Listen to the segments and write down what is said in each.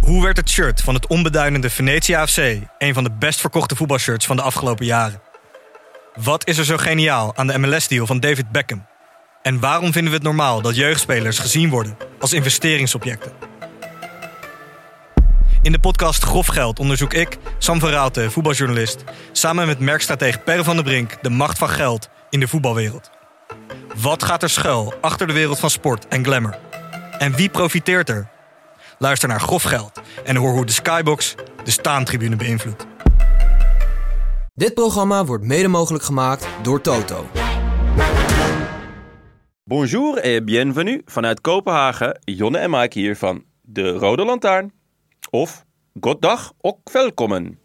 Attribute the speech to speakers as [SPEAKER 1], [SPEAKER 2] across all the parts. [SPEAKER 1] Hoe werd het shirt van het onbeduidende Venetia FC een van de best verkochte voetbalshirts van de afgelopen jaren? Wat is er zo geniaal aan de MLS-deal van David Beckham? En waarom vinden we het normaal dat jeugdspelers gezien worden als investeringsobjecten? In de podcast Grof Geld onderzoek ik, Sam van Raalte, voetbaljournalist, samen met merkstratege Per van der Brink de macht van geld in de voetbalwereld. Wat gaat er schuil achter de wereld van sport en glamour? En wie profiteert er? Luister naar Grof Geld en hoor hoe de Skybox de staantribune beïnvloedt.
[SPEAKER 2] Dit programma wordt mede mogelijk gemaakt door Toto.
[SPEAKER 3] Bonjour et bienvenue vanuit Kopenhagen. Jonne en Mike hier van De Rode Lantaarn. Of Goddag ook welkommen.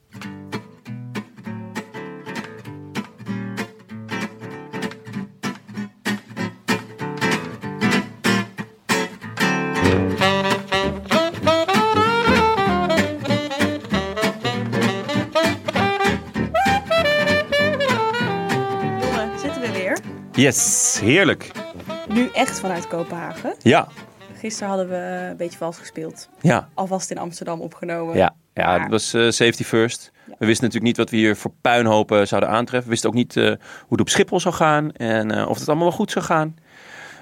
[SPEAKER 4] Jongen, zitten we weer.
[SPEAKER 3] Yes, heerlijk.
[SPEAKER 4] Nu echt vanuit Kopenhagen.
[SPEAKER 3] Ja,
[SPEAKER 4] Gisteren hadden we een beetje vals gespeeld.
[SPEAKER 3] ja,
[SPEAKER 4] Alvast in Amsterdam opgenomen.
[SPEAKER 3] ja. Ja, het was eh, safety first. We wisten natuurlijk niet wat we hier voor puinhopen zouden aantreffen. We wisten ook niet eh, hoe het op Schiphol zou gaan en eh, of het allemaal wel goed zou gaan.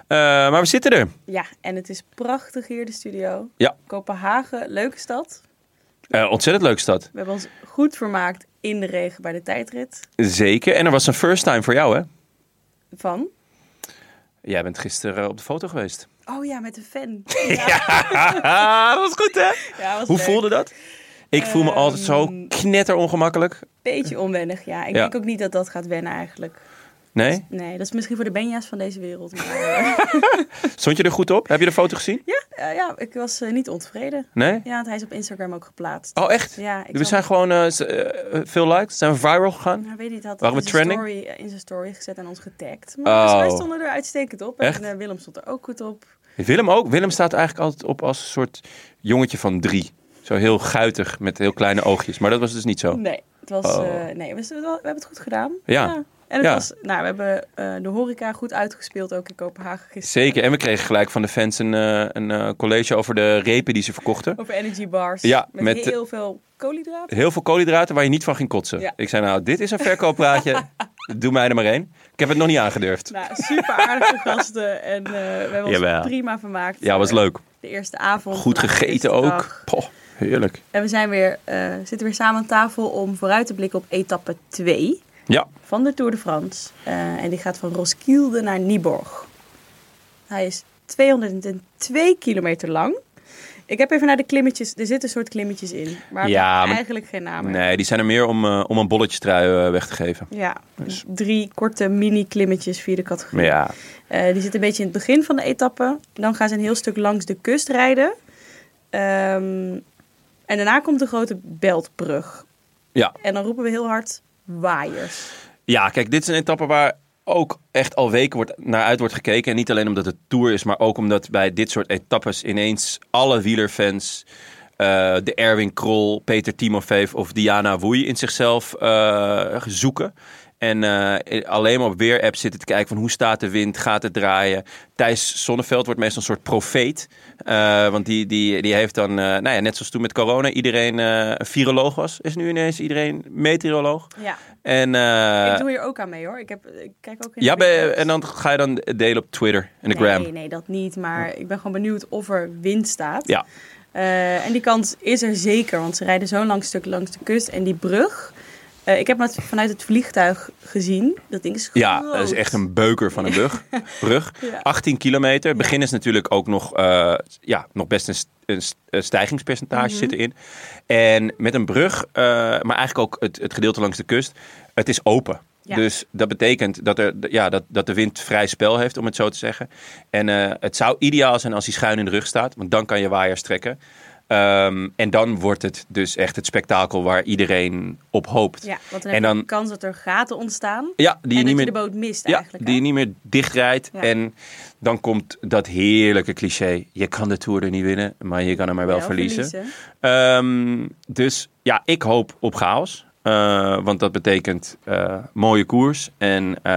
[SPEAKER 3] Eh, maar we zitten er.
[SPEAKER 4] Ja, en het is prachtig hier, de studio.
[SPEAKER 3] Ja.
[SPEAKER 4] Kopenhagen, leuke stad.
[SPEAKER 3] Eh, ontzettend leuk stad.
[SPEAKER 4] We hebben ons goed vermaakt in de regen bij de tijdrit.
[SPEAKER 3] Zeker. En er was een first time voor jou, hè?
[SPEAKER 4] Van?
[SPEAKER 3] Jij bent gisteren op de foto geweest.
[SPEAKER 4] Oh ja, met een fan.
[SPEAKER 3] Ah, dat was goed, hè?
[SPEAKER 4] Ja,
[SPEAKER 3] Hoe
[SPEAKER 4] was leuk. Ehm,
[SPEAKER 3] voelde dat? Ik voel me altijd zo knetter ongemakkelijk.
[SPEAKER 4] Beetje onwennig, ja. Ik
[SPEAKER 3] Ja.
[SPEAKER 4] denk ook niet dat dat gaat wennen eigenlijk.
[SPEAKER 3] Nee?
[SPEAKER 4] Nee, dat is misschien voor de Benja's van deze wereld. Maar, eh,
[SPEAKER 3] Stond je er goed op? Heb je de foto gezien?
[SPEAKER 4] ja, eh, ja, ik was eh, niet ontevreden.
[SPEAKER 3] Nee?
[SPEAKER 4] Ja, want hij is op Instagram ook geplaatst.
[SPEAKER 3] Oh, echt?
[SPEAKER 4] Ja, ik
[SPEAKER 3] We
[SPEAKER 4] zal-
[SPEAKER 3] zijn gewoon eh, s- eh, veel likes, zijn we viral gegaan.
[SPEAKER 4] Nou, weet niet, had
[SPEAKER 3] Waren
[SPEAKER 4] in
[SPEAKER 3] we
[SPEAKER 4] zijn
[SPEAKER 3] trending?
[SPEAKER 4] story, in zijn story gezet en ons getagd. Maar
[SPEAKER 3] Oh.
[SPEAKER 4] wij stonden er uitstekend op. En
[SPEAKER 3] Echt?
[SPEAKER 4] eh, Willem stond er ook goed op.
[SPEAKER 3] Willem ook. Willem staat eigenlijk altijd op als een soort jongetje van drie. Zo heel guitig met heel kleine oogjes. Maar dat was dus niet zo.
[SPEAKER 4] Nee, het was,
[SPEAKER 3] Oh.
[SPEAKER 4] eh, nee we, we hebben het goed gedaan.
[SPEAKER 3] Ja.
[SPEAKER 4] En het
[SPEAKER 3] Ja.
[SPEAKER 4] was, nou, we hebben eh, de horeca goed uitgespeeld ook in Kopenhagen gisteren.
[SPEAKER 3] Zeker. En we kregen gelijk van de fans een, eh, een eh, college over de repen die ze verkochten.
[SPEAKER 4] Over energy bars.
[SPEAKER 3] Ja,
[SPEAKER 4] met,
[SPEAKER 3] met-
[SPEAKER 4] heel veel koolhydraten.
[SPEAKER 3] Heel veel koolhydraten waar je niet van ging kotsen.
[SPEAKER 4] Ja.
[SPEAKER 3] Ik zei nou, dit is een verkooppraatje. Doe mij er maar één. Ik heb het nog niet aangedurfd.
[SPEAKER 4] Nou, super aardige gasten. En eh, we hebben ons
[SPEAKER 3] Jawel.
[SPEAKER 4] prima vermaakt. eh,
[SPEAKER 3] Ja, was leuk.
[SPEAKER 4] De eerste avond.
[SPEAKER 3] Goed
[SPEAKER 4] nou, de
[SPEAKER 3] gegeten
[SPEAKER 4] eerste
[SPEAKER 3] ook.
[SPEAKER 4] dag.
[SPEAKER 3] Poh, heerlijk.
[SPEAKER 4] En we zijn weer, eh, zitten weer samen aan tafel om vooruit te blikken op etappe 2.
[SPEAKER 3] Ja,
[SPEAKER 4] van de Tour de France. Eh, en die gaat van Roskilde naar Nieborg. Hij is 202 kilometer lang. Ik heb even naar de klimmetjes. Er zitten soort klimmetjes in. Maar
[SPEAKER 3] Ja,
[SPEAKER 4] ja,
[SPEAKER 3] maar-
[SPEAKER 4] eigenlijk geen naam. meer.
[SPEAKER 3] nee, die zijn er meer om, eh, om een bolletje trui eh, weg te geven.
[SPEAKER 4] Ja, drie korte mini-klimmetjes, vierde categorie.
[SPEAKER 3] Dus- Ja,
[SPEAKER 4] Eh, die zitten een beetje in het begin van de etappe. Dan gaan ze een heel stuk langs de kust rijden. Ehm, en daarna komt de grote Beltbrug.
[SPEAKER 3] ja.
[SPEAKER 4] En dan roepen we heel hard waaiers.
[SPEAKER 3] ja kijk, dit is een etappe waar ook echt al weken wordt, naar uit wordt gekeken. En niet alleen omdat het Tour is, maar ook omdat bij dit soort etappes ineens alle wielerfans... eh, de Erwin Krol, Peter Timofeev of Diana Woei in zichzelf eh, zoeken. En eh, alleen maar op weer-app zitten te kijken van hoe staat de wind, gaat het draaien. Thijs Sonneveld wordt meestal een soort profeet. Eh, want die, die, die heeft dan, eh, nou ja, net zoals toen met corona, iedereen eh, een viroloog was. Is nu ineens iedereen meteoroloog.
[SPEAKER 4] Ja.
[SPEAKER 3] En, eh,
[SPEAKER 4] ik doe hier ook aan mee hoor. Ik, heb, ik kijk ook in de
[SPEAKER 3] ja, ben-
[SPEAKER 4] video's.
[SPEAKER 3] en dan ga je dan delen op Twitter en de gram.
[SPEAKER 4] Nee, nee, dat niet. Maar ik ben gewoon benieuwd of er wind staat.
[SPEAKER 3] Ja.
[SPEAKER 4] Eh, en die kans is er zeker, want ze rijden zo'n lang stuk langs de kust. En die brug, eh, ik heb het vanuit het vliegtuig gezien. Dat ding is groot.
[SPEAKER 3] Ja, dat is echt een beuker van een brug. brug.
[SPEAKER 4] Ja.
[SPEAKER 3] 18 kilometer. Het begin is natuurlijk ook nog, eh, ja, nog best een, st- een st- een stijgingspercentage
[SPEAKER 4] Mhm.
[SPEAKER 3] zit erin. En met een brug, eh, maar eigenlijk ook het, het gedeelte langs de kust, het is open.
[SPEAKER 4] Ja.
[SPEAKER 3] Dus dat betekent dat, er, ja, dat, dat de wind vrij spel heeft, om het zo te zeggen. En eh, het zou ideaal zijn als hij schuin in de rug staat, want dan kan je waaiers trekken. Ehm, en dan wordt het dus echt het spektakel waar iedereen op hoopt.
[SPEAKER 4] Ja, want
[SPEAKER 3] en
[SPEAKER 4] dan heb je
[SPEAKER 3] dan,
[SPEAKER 4] de kans dat er gaten ontstaan.
[SPEAKER 3] ja, die je niet
[SPEAKER 4] en dat
[SPEAKER 3] meer,
[SPEAKER 4] je de boot mist
[SPEAKER 3] ja,
[SPEAKER 4] eigenlijk.
[SPEAKER 3] die
[SPEAKER 4] hè?
[SPEAKER 3] je niet meer dichtrijdt.
[SPEAKER 4] Ja.
[SPEAKER 3] En dan komt dat heerlijke cliché. Je kan de Tour er niet winnen, maar je kan hem maar wel, verliezen. Ehm, dus ja, ik hoop op chaos. Eh, want dat betekent eh, mooie koers. En eh,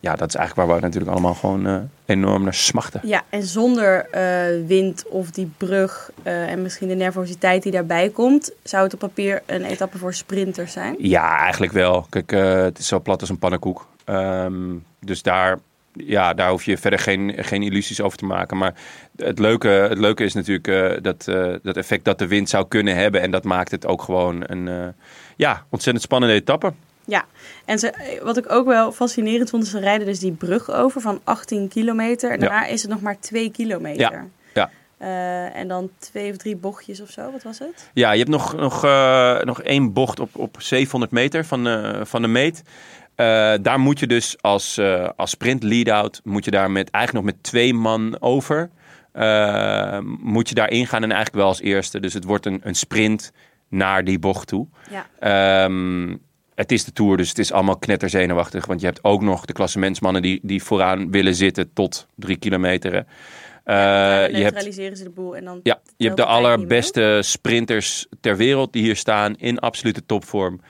[SPEAKER 3] ja, dat is eigenlijk waar we natuurlijk allemaal gewoon eh, enorm naar smachten.
[SPEAKER 4] Ja, en zonder eh, wind of die brug eh, en misschien de nervositeit die daarbij komt, zou het op papier een etappe voor sprinters zijn.
[SPEAKER 3] Ja, eigenlijk wel. Kijk, eh, het is zo plat als een pannenkoek. Ehm, dus daar, ja, daar hoef je verder geen, geen illusies over te maken. Maar het leuke, het leuke is natuurlijk eh, dat, eh, dat effect dat de wind zou kunnen hebben. En dat maakt het ook gewoon een eh, ja, ontzettend spannende etappe.
[SPEAKER 4] Ja, en ze, wat ik ook wel fascinerend vond, is ze rijden dus die brug over van 18 kilometer. En
[SPEAKER 3] Ja.
[SPEAKER 4] daarna is het nog maar 2 kilometer.
[SPEAKER 3] Ja, ja.
[SPEAKER 4] Eh, en dan twee of drie bochtjes of zo, wat was het?
[SPEAKER 3] Ja, je hebt nog, nog, eh, nog één bocht op, op 700 meter van, eh, van de meet. Eh, daar moet je dus als, eh, als sprint lead-out, moet je daar met, eigenlijk nog met twee man over, eh, moet je daar ingaan en eigenlijk wel als eerste. Dus het wordt een, een sprint naar die bocht toe.
[SPEAKER 4] Ja.
[SPEAKER 3] Ehm, het is de Tour, dus het is allemaal knetterzenuwachtig. Want je hebt ook nog de klassementsmannen die, die vooraan willen zitten tot drie kilometer. hè. Eh,
[SPEAKER 4] Dan
[SPEAKER 3] je hebt
[SPEAKER 4] neutraliseren ze de boel en dan...
[SPEAKER 3] ja, je
[SPEAKER 4] telt
[SPEAKER 3] hebt de
[SPEAKER 4] de tijd niet meer.
[SPEAKER 3] allerbeste sprinters ter wereld die hier staan in absolute topvorm.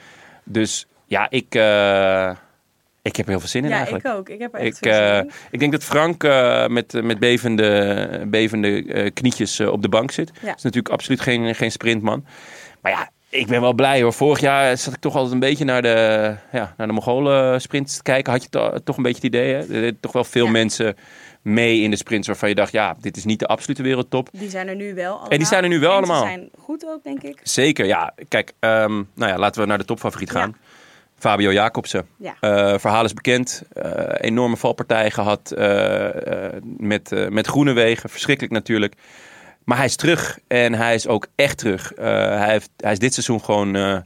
[SPEAKER 3] Dus ja, ik, eh, ik heb er heel veel zin in
[SPEAKER 4] Ja,
[SPEAKER 3] eigenlijk.
[SPEAKER 4] ik ook. Ik heb er echt
[SPEAKER 3] Ik,
[SPEAKER 4] veel zin in.
[SPEAKER 3] eh, ik denk dat Frank eh, met, met bevende, bevende eh, knietjes eh, op de bank zit.
[SPEAKER 4] Ja.
[SPEAKER 3] is natuurlijk absoluut geen, geen sprintman. Maar ja, ik ben wel blij hoor. Vorig jaar zat ik toch altijd een beetje naar de, ja, naar de Mongolen eh, sprints te kijken. Had je to- toch een beetje het idee, hè? Er deden toch wel veel
[SPEAKER 4] Ja.
[SPEAKER 3] mensen mee in de sprints waarvan je dacht... ja, dit is niet de absolute wereldtop.
[SPEAKER 4] Die zijn er nu wel allemaal.
[SPEAKER 3] die zijn er nu wel
[SPEAKER 4] En
[SPEAKER 3] allemaal.
[SPEAKER 4] Ze zijn goed ook, denk ik.
[SPEAKER 3] Zeker, ja. Kijk, ehm, nou ja, laten we naar de topfavoriet
[SPEAKER 4] Ja.
[SPEAKER 3] gaan. Fabio Jacobsen.
[SPEAKER 4] Ja.
[SPEAKER 3] Eh, verhaal is bekend. Eh, enorme valpartij gehad eh, eh, met, eh met Groenewegen. Verschrikkelijk natuurlijk. Maar hij is terug en hij is ook echt terug. Eh, hij, heeft, hij is dit seizoen gewoon, eh,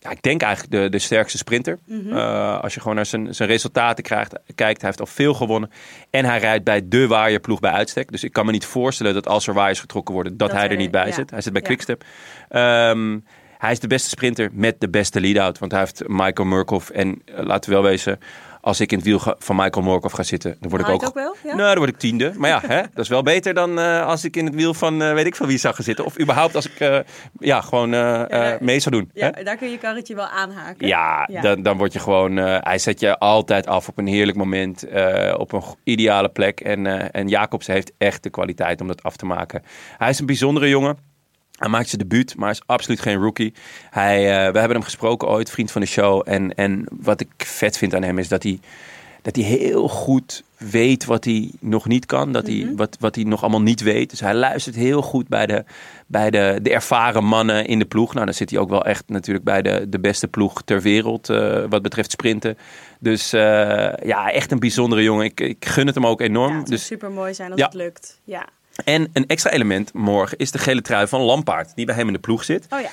[SPEAKER 3] ja, ik denk eigenlijk de, de sterkste sprinter.
[SPEAKER 4] Mhm.
[SPEAKER 3] Eh, als je gewoon naar zijn, zijn resultaten krijgt, kijkt, hij heeft al veel gewonnen. En hij rijdt bij de waaierploeg bij uitstek. Dus ik kan me niet voorstellen dat als er waaiers getrokken worden, dat, hij er niet bij
[SPEAKER 4] ja.
[SPEAKER 3] zit. Hij zit bij
[SPEAKER 4] Ja.
[SPEAKER 3] Quickstep. Ehm, hij is de beste sprinter met de beste lead-out. Want hij heeft Michael Murkoff. En eh, laten we wel wezen, als ik in het wiel ga- van Michael Murkoff ga zitten, dan word ik
[SPEAKER 4] Haal je
[SPEAKER 3] ook...
[SPEAKER 4] het ook wel? Ja?
[SPEAKER 3] Nou, dan word ik tiende. Maar ja, hè, dat is wel beter dan eh, als ik in het wiel van eh, weet ik van wie zou gaan zitten. Of überhaupt als ik eh, ja, gewoon eh, eh,
[SPEAKER 4] eh,
[SPEAKER 3] mee zou doen.
[SPEAKER 4] Ja,
[SPEAKER 3] hè?
[SPEAKER 4] daar kun je je karretje wel aanhaken.
[SPEAKER 3] Ja,
[SPEAKER 4] Ja.
[SPEAKER 3] Dan, dan word je gewoon. eh, hij zet je altijd af op een heerlijk moment. eh, op een go- ideale plek. En, eh, en Jacobsen heeft echt de kwaliteit om dat af te maken. Hij is een bijzondere jongen. Hij maakt zijn debuut, maar hij is absoluut geen rookie. Hij, eh, we hebben hem gesproken ooit, vriend van de show. En, en wat ik vet vind aan hem is dat hij, dat hij heel goed weet wat hij nog niet kan. Dat hij,
[SPEAKER 4] Mhm.
[SPEAKER 3] wat, wat hij nog allemaal niet weet. Dus hij luistert heel goed bij, de, bij de, de ervaren mannen in de ploeg. Nou, dan zit hij ook wel echt natuurlijk bij de, de beste ploeg ter wereld eh, wat betreft sprinten. Dus eh, ja, echt een bijzondere jongen. Ik, ik gun het hem ook
[SPEAKER 4] Ja,
[SPEAKER 3] enorm.
[SPEAKER 4] het
[SPEAKER 3] dus,
[SPEAKER 4] super mooi zijn als
[SPEAKER 3] Ja.
[SPEAKER 4] het lukt. Ja.
[SPEAKER 3] en een extra element morgen is de gele trui van Lampaard. Die bij hem in de ploeg zit.
[SPEAKER 4] Oh ja.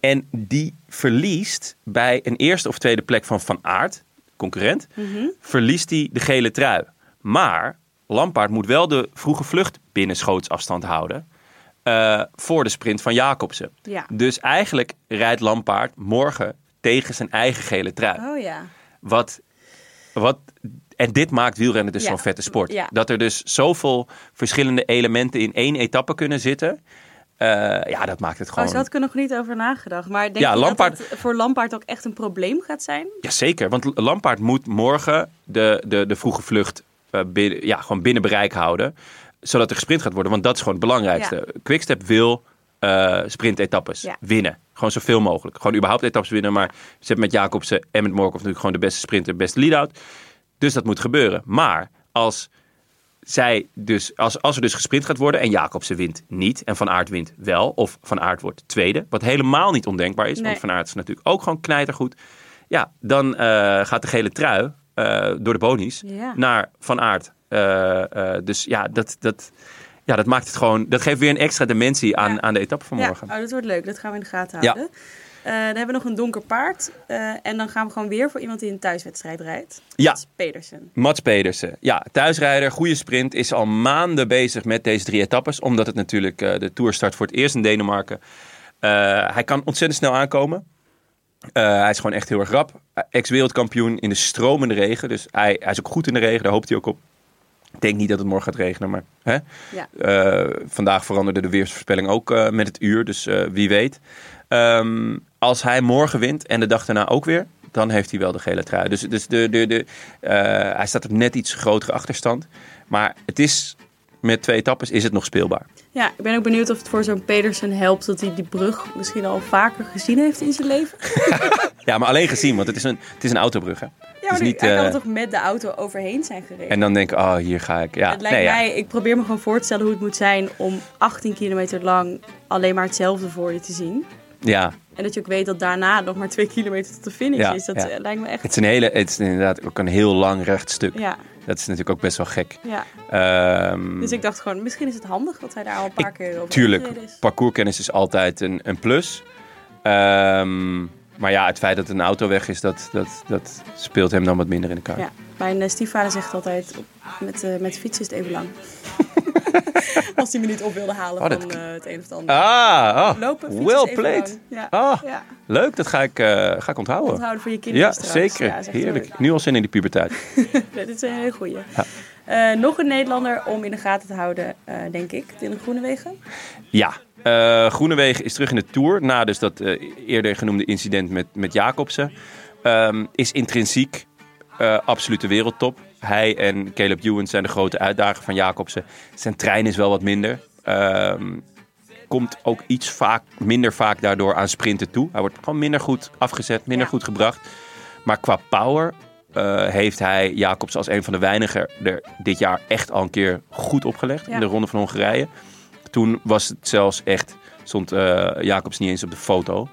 [SPEAKER 3] En die verliest bij een eerste of tweede plek van Van Aert, concurrent,
[SPEAKER 4] Mhm.
[SPEAKER 3] verliest hij de gele trui. Maar Lampaard moet wel de vroege vlucht binnen schootsafstand houden eh, voor de sprint van Jacobsen.
[SPEAKER 4] Ja.
[SPEAKER 3] Dus eigenlijk rijdt Lampaard morgen tegen zijn eigen gele trui.
[SPEAKER 4] Oh ja.
[SPEAKER 3] Wat, wat, en dit maakt wielrennen dus
[SPEAKER 4] Ja.
[SPEAKER 3] zo'n vette sport.
[SPEAKER 4] Ja.
[SPEAKER 3] Dat er dus zoveel verschillende elementen in één etappe kunnen zitten. Eh, ja, dat maakt het
[SPEAKER 4] Oh,
[SPEAKER 3] gewoon...
[SPEAKER 4] zo had ik er nog niet over nagedacht. Maar denk
[SPEAKER 3] Ja,
[SPEAKER 4] je
[SPEAKER 3] Lampaard-
[SPEAKER 4] dat het voor Lampaard ook echt een probleem gaat zijn?
[SPEAKER 3] Jazeker, want Lampaard moet morgen de, de, de vroege vlucht eh, binnen, ja, gewoon binnen bereik houden. Zodat er gesprint gaat worden, want dat is gewoon het belangrijkste. Quickstep wil eh sprintetappes
[SPEAKER 4] Ja.
[SPEAKER 3] winnen. Gewoon zoveel mogelijk. Gewoon überhaupt etappes winnen. Maar ze hebben met Jacobsen en met Morkov natuurlijk gewoon de beste sprinter, beste lead-out. Dus dat moet gebeuren. Maar als, zij dus, als, als er dus gesprint gaat worden en Jacobsen wint niet en Van Aert wint wel. Of Van Aert wordt tweede, wat helemaal niet ondenkbaar is.
[SPEAKER 4] Nee.
[SPEAKER 3] Want Van Aert is natuurlijk ook gewoon knijtergoed. Ja, dan eh, gaat de gele trui eh, door de bonies
[SPEAKER 4] Ja.
[SPEAKER 3] naar Van Aert. Eh, eh, dus ja dat, dat, ja, dat maakt het gewoon... Dat geeft weer een extra dimensie aan,
[SPEAKER 4] Ja.
[SPEAKER 3] aan de etappe van
[SPEAKER 4] Ja.
[SPEAKER 3] morgen.
[SPEAKER 4] Oh, dat wordt leuk. Dat gaan we in de gaten
[SPEAKER 3] Ja.
[SPEAKER 4] houden. Eh, dan hebben we nog een donker paard. Eh, en dan gaan we gewoon weer voor iemand die een thuiswedstrijd rijdt.
[SPEAKER 3] Ja.
[SPEAKER 4] Dat is Pedersen.
[SPEAKER 3] Mats Pedersen. Ja, thuisrijder, goede sprint. Is al maanden bezig met deze drie etappes. Omdat het natuurlijk eh, de Tour start voor het eerst in Denemarken. Eh, hij kan ontzettend snel aankomen. Eh, hij is gewoon echt heel erg Eh, rap. Ex-wereldkampioen in de stromende regen. Dus hij, hij is ook goed in de regen. Daar hoopt hij ook op. Ik denk niet dat het morgen gaat regenen, maar hè?
[SPEAKER 4] Ja.
[SPEAKER 3] Eh, vandaag veranderde de weersvoorspelling ook eh, met het uur, dus eh, wie weet. Ehm, als hij morgen wint en de dag daarna ook weer, dan heeft hij wel de gele trui. Dus, dus de, de, de, eh, hij staat op net iets grotere achterstand. Maar het is, met twee etappes is het nog speelbaar.
[SPEAKER 4] Ja, ik ben ook benieuwd of het voor zo'n Pedersen helpt dat hij die brug misschien al vaker gezien heeft in zijn leven.
[SPEAKER 3] Ja, maar alleen gezien, want het is een, het is een autobrug. Hè?
[SPEAKER 4] Ja, maar
[SPEAKER 3] is niet,
[SPEAKER 4] hij kan
[SPEAKER 3] eh,
[SPEAKER 4] er toch met de auto overheen zijn gereden?
[SPEAKER 3] En dan denk ik, oh, hier ga ik. Ja,
[SPEAKER 4] het lijkt
[SPEAKER 3] nee, ja.
[SPEAKER 4] mij, ik probeer me gewoon voor te stellen hoe het moet zijn om 18 kilometer lang alleen maar hetzelfde voor je te zien.
[SPEAKER 3] ja.
[SPEAKER 4] En dat je ook weet dat daarna nog maar twee kilometer tot de finish
[SPEAKER 3] Ja,
[SPEAKER 4] is. Dat
[SPEAKER 3] ja.
[SPEAKER 4] eh, lijkt me
[SPEAKER 3] Het
[SPEAKER 4] echt...
[SPEAKER 3] is, een hele, het is inderdaad ook een heel lang recht stuk.
[SPEAKER 4] Ja,
[SPEAKER 3] Dat is natuurlijk ook best wel gek.
[SPEAKER 4] ja.
[SPEAKER 3] Ehm,
[SPEAKER 4] Dus ik dacht gewoon, misschien is het handig dat hij daar al een paar keer over
[SPEAKER 3] Tuurlijk,
[SPEAKER 4] gereden is.
[SPEAKER 3] parcourskennis is altijd een, een plus. Ehm, maar ja, het feit dat een auto weg is, dat, dat, dat speelt hem dan wat minder in de kaart.
[SPEAKER 4] Ja, mijn eh, stiefvader zegt altijd, op- met, eh met fiets is het even lang. Als hij me niet op wilde halen
[SPEAKER 3] Oh, dat
[SPEAKER 4] van
[SPEAKER 3] kl-
[SPEAKER 4] eh, het een of het ander.
[SPEAKER 3] Ah, oh,
[SPEAKER 4] Lopen, fietsen is
[SPEAKER 3] well
[SPEAKER 4] even
[SPEAKER 3] played.
[SPEAKER 4] lang. Ja.
[SPEAKER 3] Ah,
[SPEAKER 4] Ja.
[SPEAKER 3] leuk, dat ga ik, eh, ga ik onthouden.
[SPEAKER 4] Onthouden voor je kinderen
[SPEAKER 3] Ja,
[SPEAKER 4] straks.
[SPEAKER 3] zeker.
[SPEAKER 4] Ja, is echt heel
[SPEAKER 3] Heerlijk. Nu al zin in die puberteit.
[SPEAKER 4] Nee, dit is een hele goeie. Eh, nog een Nederlander om in de groene te houden, eh, denk ik. Dylan Groenewegen.
[SPEAKER 3] ja. Eh Groenewegen is terug in de Tour. Na dus dat eh, eerder genoemde incident met, met Jacobsen. Ehm, is intrinsiek eh, absolute wereldtop. Hij en Caleb Ewan zijn de grote uitdager van Jacobsen. Zijn trein is wel wat minder. Ehm, komt ook iets vaak, minder vaak daardoor aan sprinten toe. Hij wordt gewoon minder goed afgezet, minder
[SPEAKER 4] Ja.
[SPEAKER 3] goed gebracht. Maar qua power eh, heeft hij Jacobs als een van de weinigen er dit jaar echt al een keer goed opgelegd.
[SPEAKER 4] Ja.
[SPEAKER 3] In de Ronde van Hongarije. Toen was het zelfs echt, stond eh, Jacobs niet eens op de foto.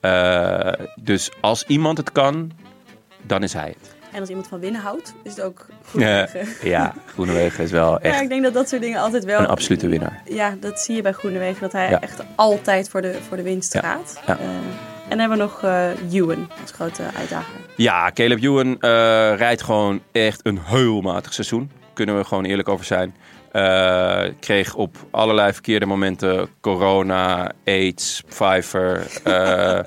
[SPEAKER 3] Eh, dus als iemand het kan, dan is hij het.
[SPEAKER 4] En als iemand van winnen houdt, is het ook
[SPEAKER 3] Ja,
[SPEAKER 4] Groenewegen.
[SPEAKER 3] ja Groenewegen is wel
[SPEAKER 4] Ja, ik
[SPEAKER 3] echt
[SPEAKER 4] denk dat dat soort dingen altijd wel...
[SPEAKER 3] een absolute winnaar.
[SPEAKER 4] Ja, dat zie je bij Groenewegen. Dat hij
[SPEAKER 3] Ja.
[SPEAKER 4] echt altijd voor de, voor de winst
[SPEAKER 3] Ja.
[SPEAKER 4] gaat.
[SPEAKER 3] Ja.
[SPEAKER 4] Eh, en dan hebben we nog eh Ewan als grote uitdager.
[SPEAKER 3] Ja, Caleb Ewan eh, rijdt gewoon echt een heel matig seizoen. Kunnen we gewoon eerlijk over zijn. Eh, kreeg op allerlei verkeerde momenten corona, aids, Pfeiffer. eh,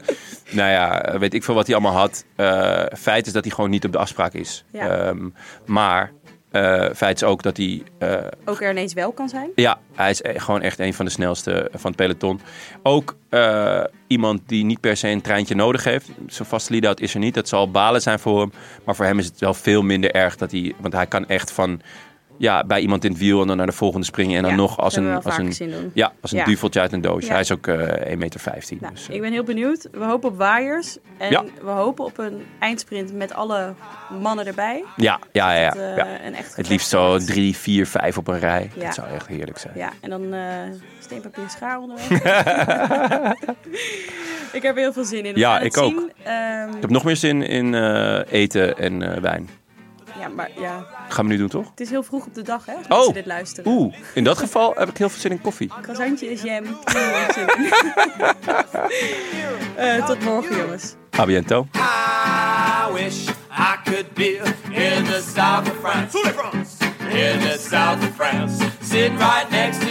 [SPEAKER 3] nou ja, weet ik veel wat hij allemaal had. Eh, feit is dat hij gewoon niet op de afspraak is.
[SPEAKER 4] Ja.
[SPEAKER 3] Ehm, maar eh, feit is ook dat hij eh,
[SPEAKER 4] Ook er ineens wel kan zijn.
[SPEAKER 3] ja, hij is e- gewoon echt een van de snelste eh, van het peloton. Ook eh, iemand die niet per se een treintje nodig heeft. Zo'n vaste lead-out is er niet. Dat zal balen zijn voor hem. Maar voor hem is het wel veel minder erg. Dat hij, want hij kan echt van ja, bij iemand in het wiel en dan naar de volgende springen. En dan
[SPEAKER 4] Ja,
[SPEAKER 3] nog als
[SPEAKER 4] dat
[SPEAKER 3] een,
[SPEAKER 4] hebben we
[SPEAKER 3] als
[SPEAKER 4] wel
[SPEAKER 3] een,
[SPEAKER 4] vaak gezien doen.
[SPEAKER 3] ja, als een
[SPEAKER 4] Ja.
[SPEAKER 3] duveltje uit een doosje.
[SPEAKER 4] Ja.
[SPEAKER 3] Hij is ook eh 1,15 meter. 15,
[SPEAKER 4] Nou,
[SPEAKER 3] dus, eh,
[SPEAKER 4] ik ben heel benieuwd. We hopen op waaiers. En
[SPEAKER 3] Ja.
[SPEAKER 4] we hopen op een eindsprint met alle mannen erbij.
[SPEAKER 3] ja, ja, ja, ja,
[SPEAKER 4] Dat, eh,
[SPEAKER 3] ja.
[SPEAKER 4] een
[SPEAKER 3] Het
[SPEAKER 4] echt gevecht
[SPEAKER 3] liefst zo
[SPEAKER 4] wordt.
[SPEAKER 3] 3, 4, 5 op een rij.
[SPEAKER 4] Ja.
[SPEAKER 3] Dat zou echt heerlijk zijn.
[SPEAKER 4] Ja, en dan eh steen, papier, schaar onderweg. ik heb er heel veel zin in. We
[SPEAKER 3] Ja,
[SPEAKER 4] gaan het
[SPEAKER 3] ik ook.
[SPEAKER 4] zien. Ehm,
[SPEAKER 3] Ik heb nog meer zin in eh, eten en eh, wijn.
[SPEAKER 4] ja, maar ja,
[SPEAKER 3] Gaan we nu doen, toch?
[SPEAKER 4] het is heel vroeg op de dag, hè? Als
[SPEAKER 3] Oh.
[SPEAKER 4] mensen dit luisteren.
[SPEAKER 3] Oeh, in dat geval heb ik heel veel zin in koffie.
[SPEAKER 4] Croissantje is jam. Eh, tot morgen, jongens.
[SPEAKER 3] A biento.
[SPEAKER 5] I wish I could be in the south of France. In the south of France. Sitting right next to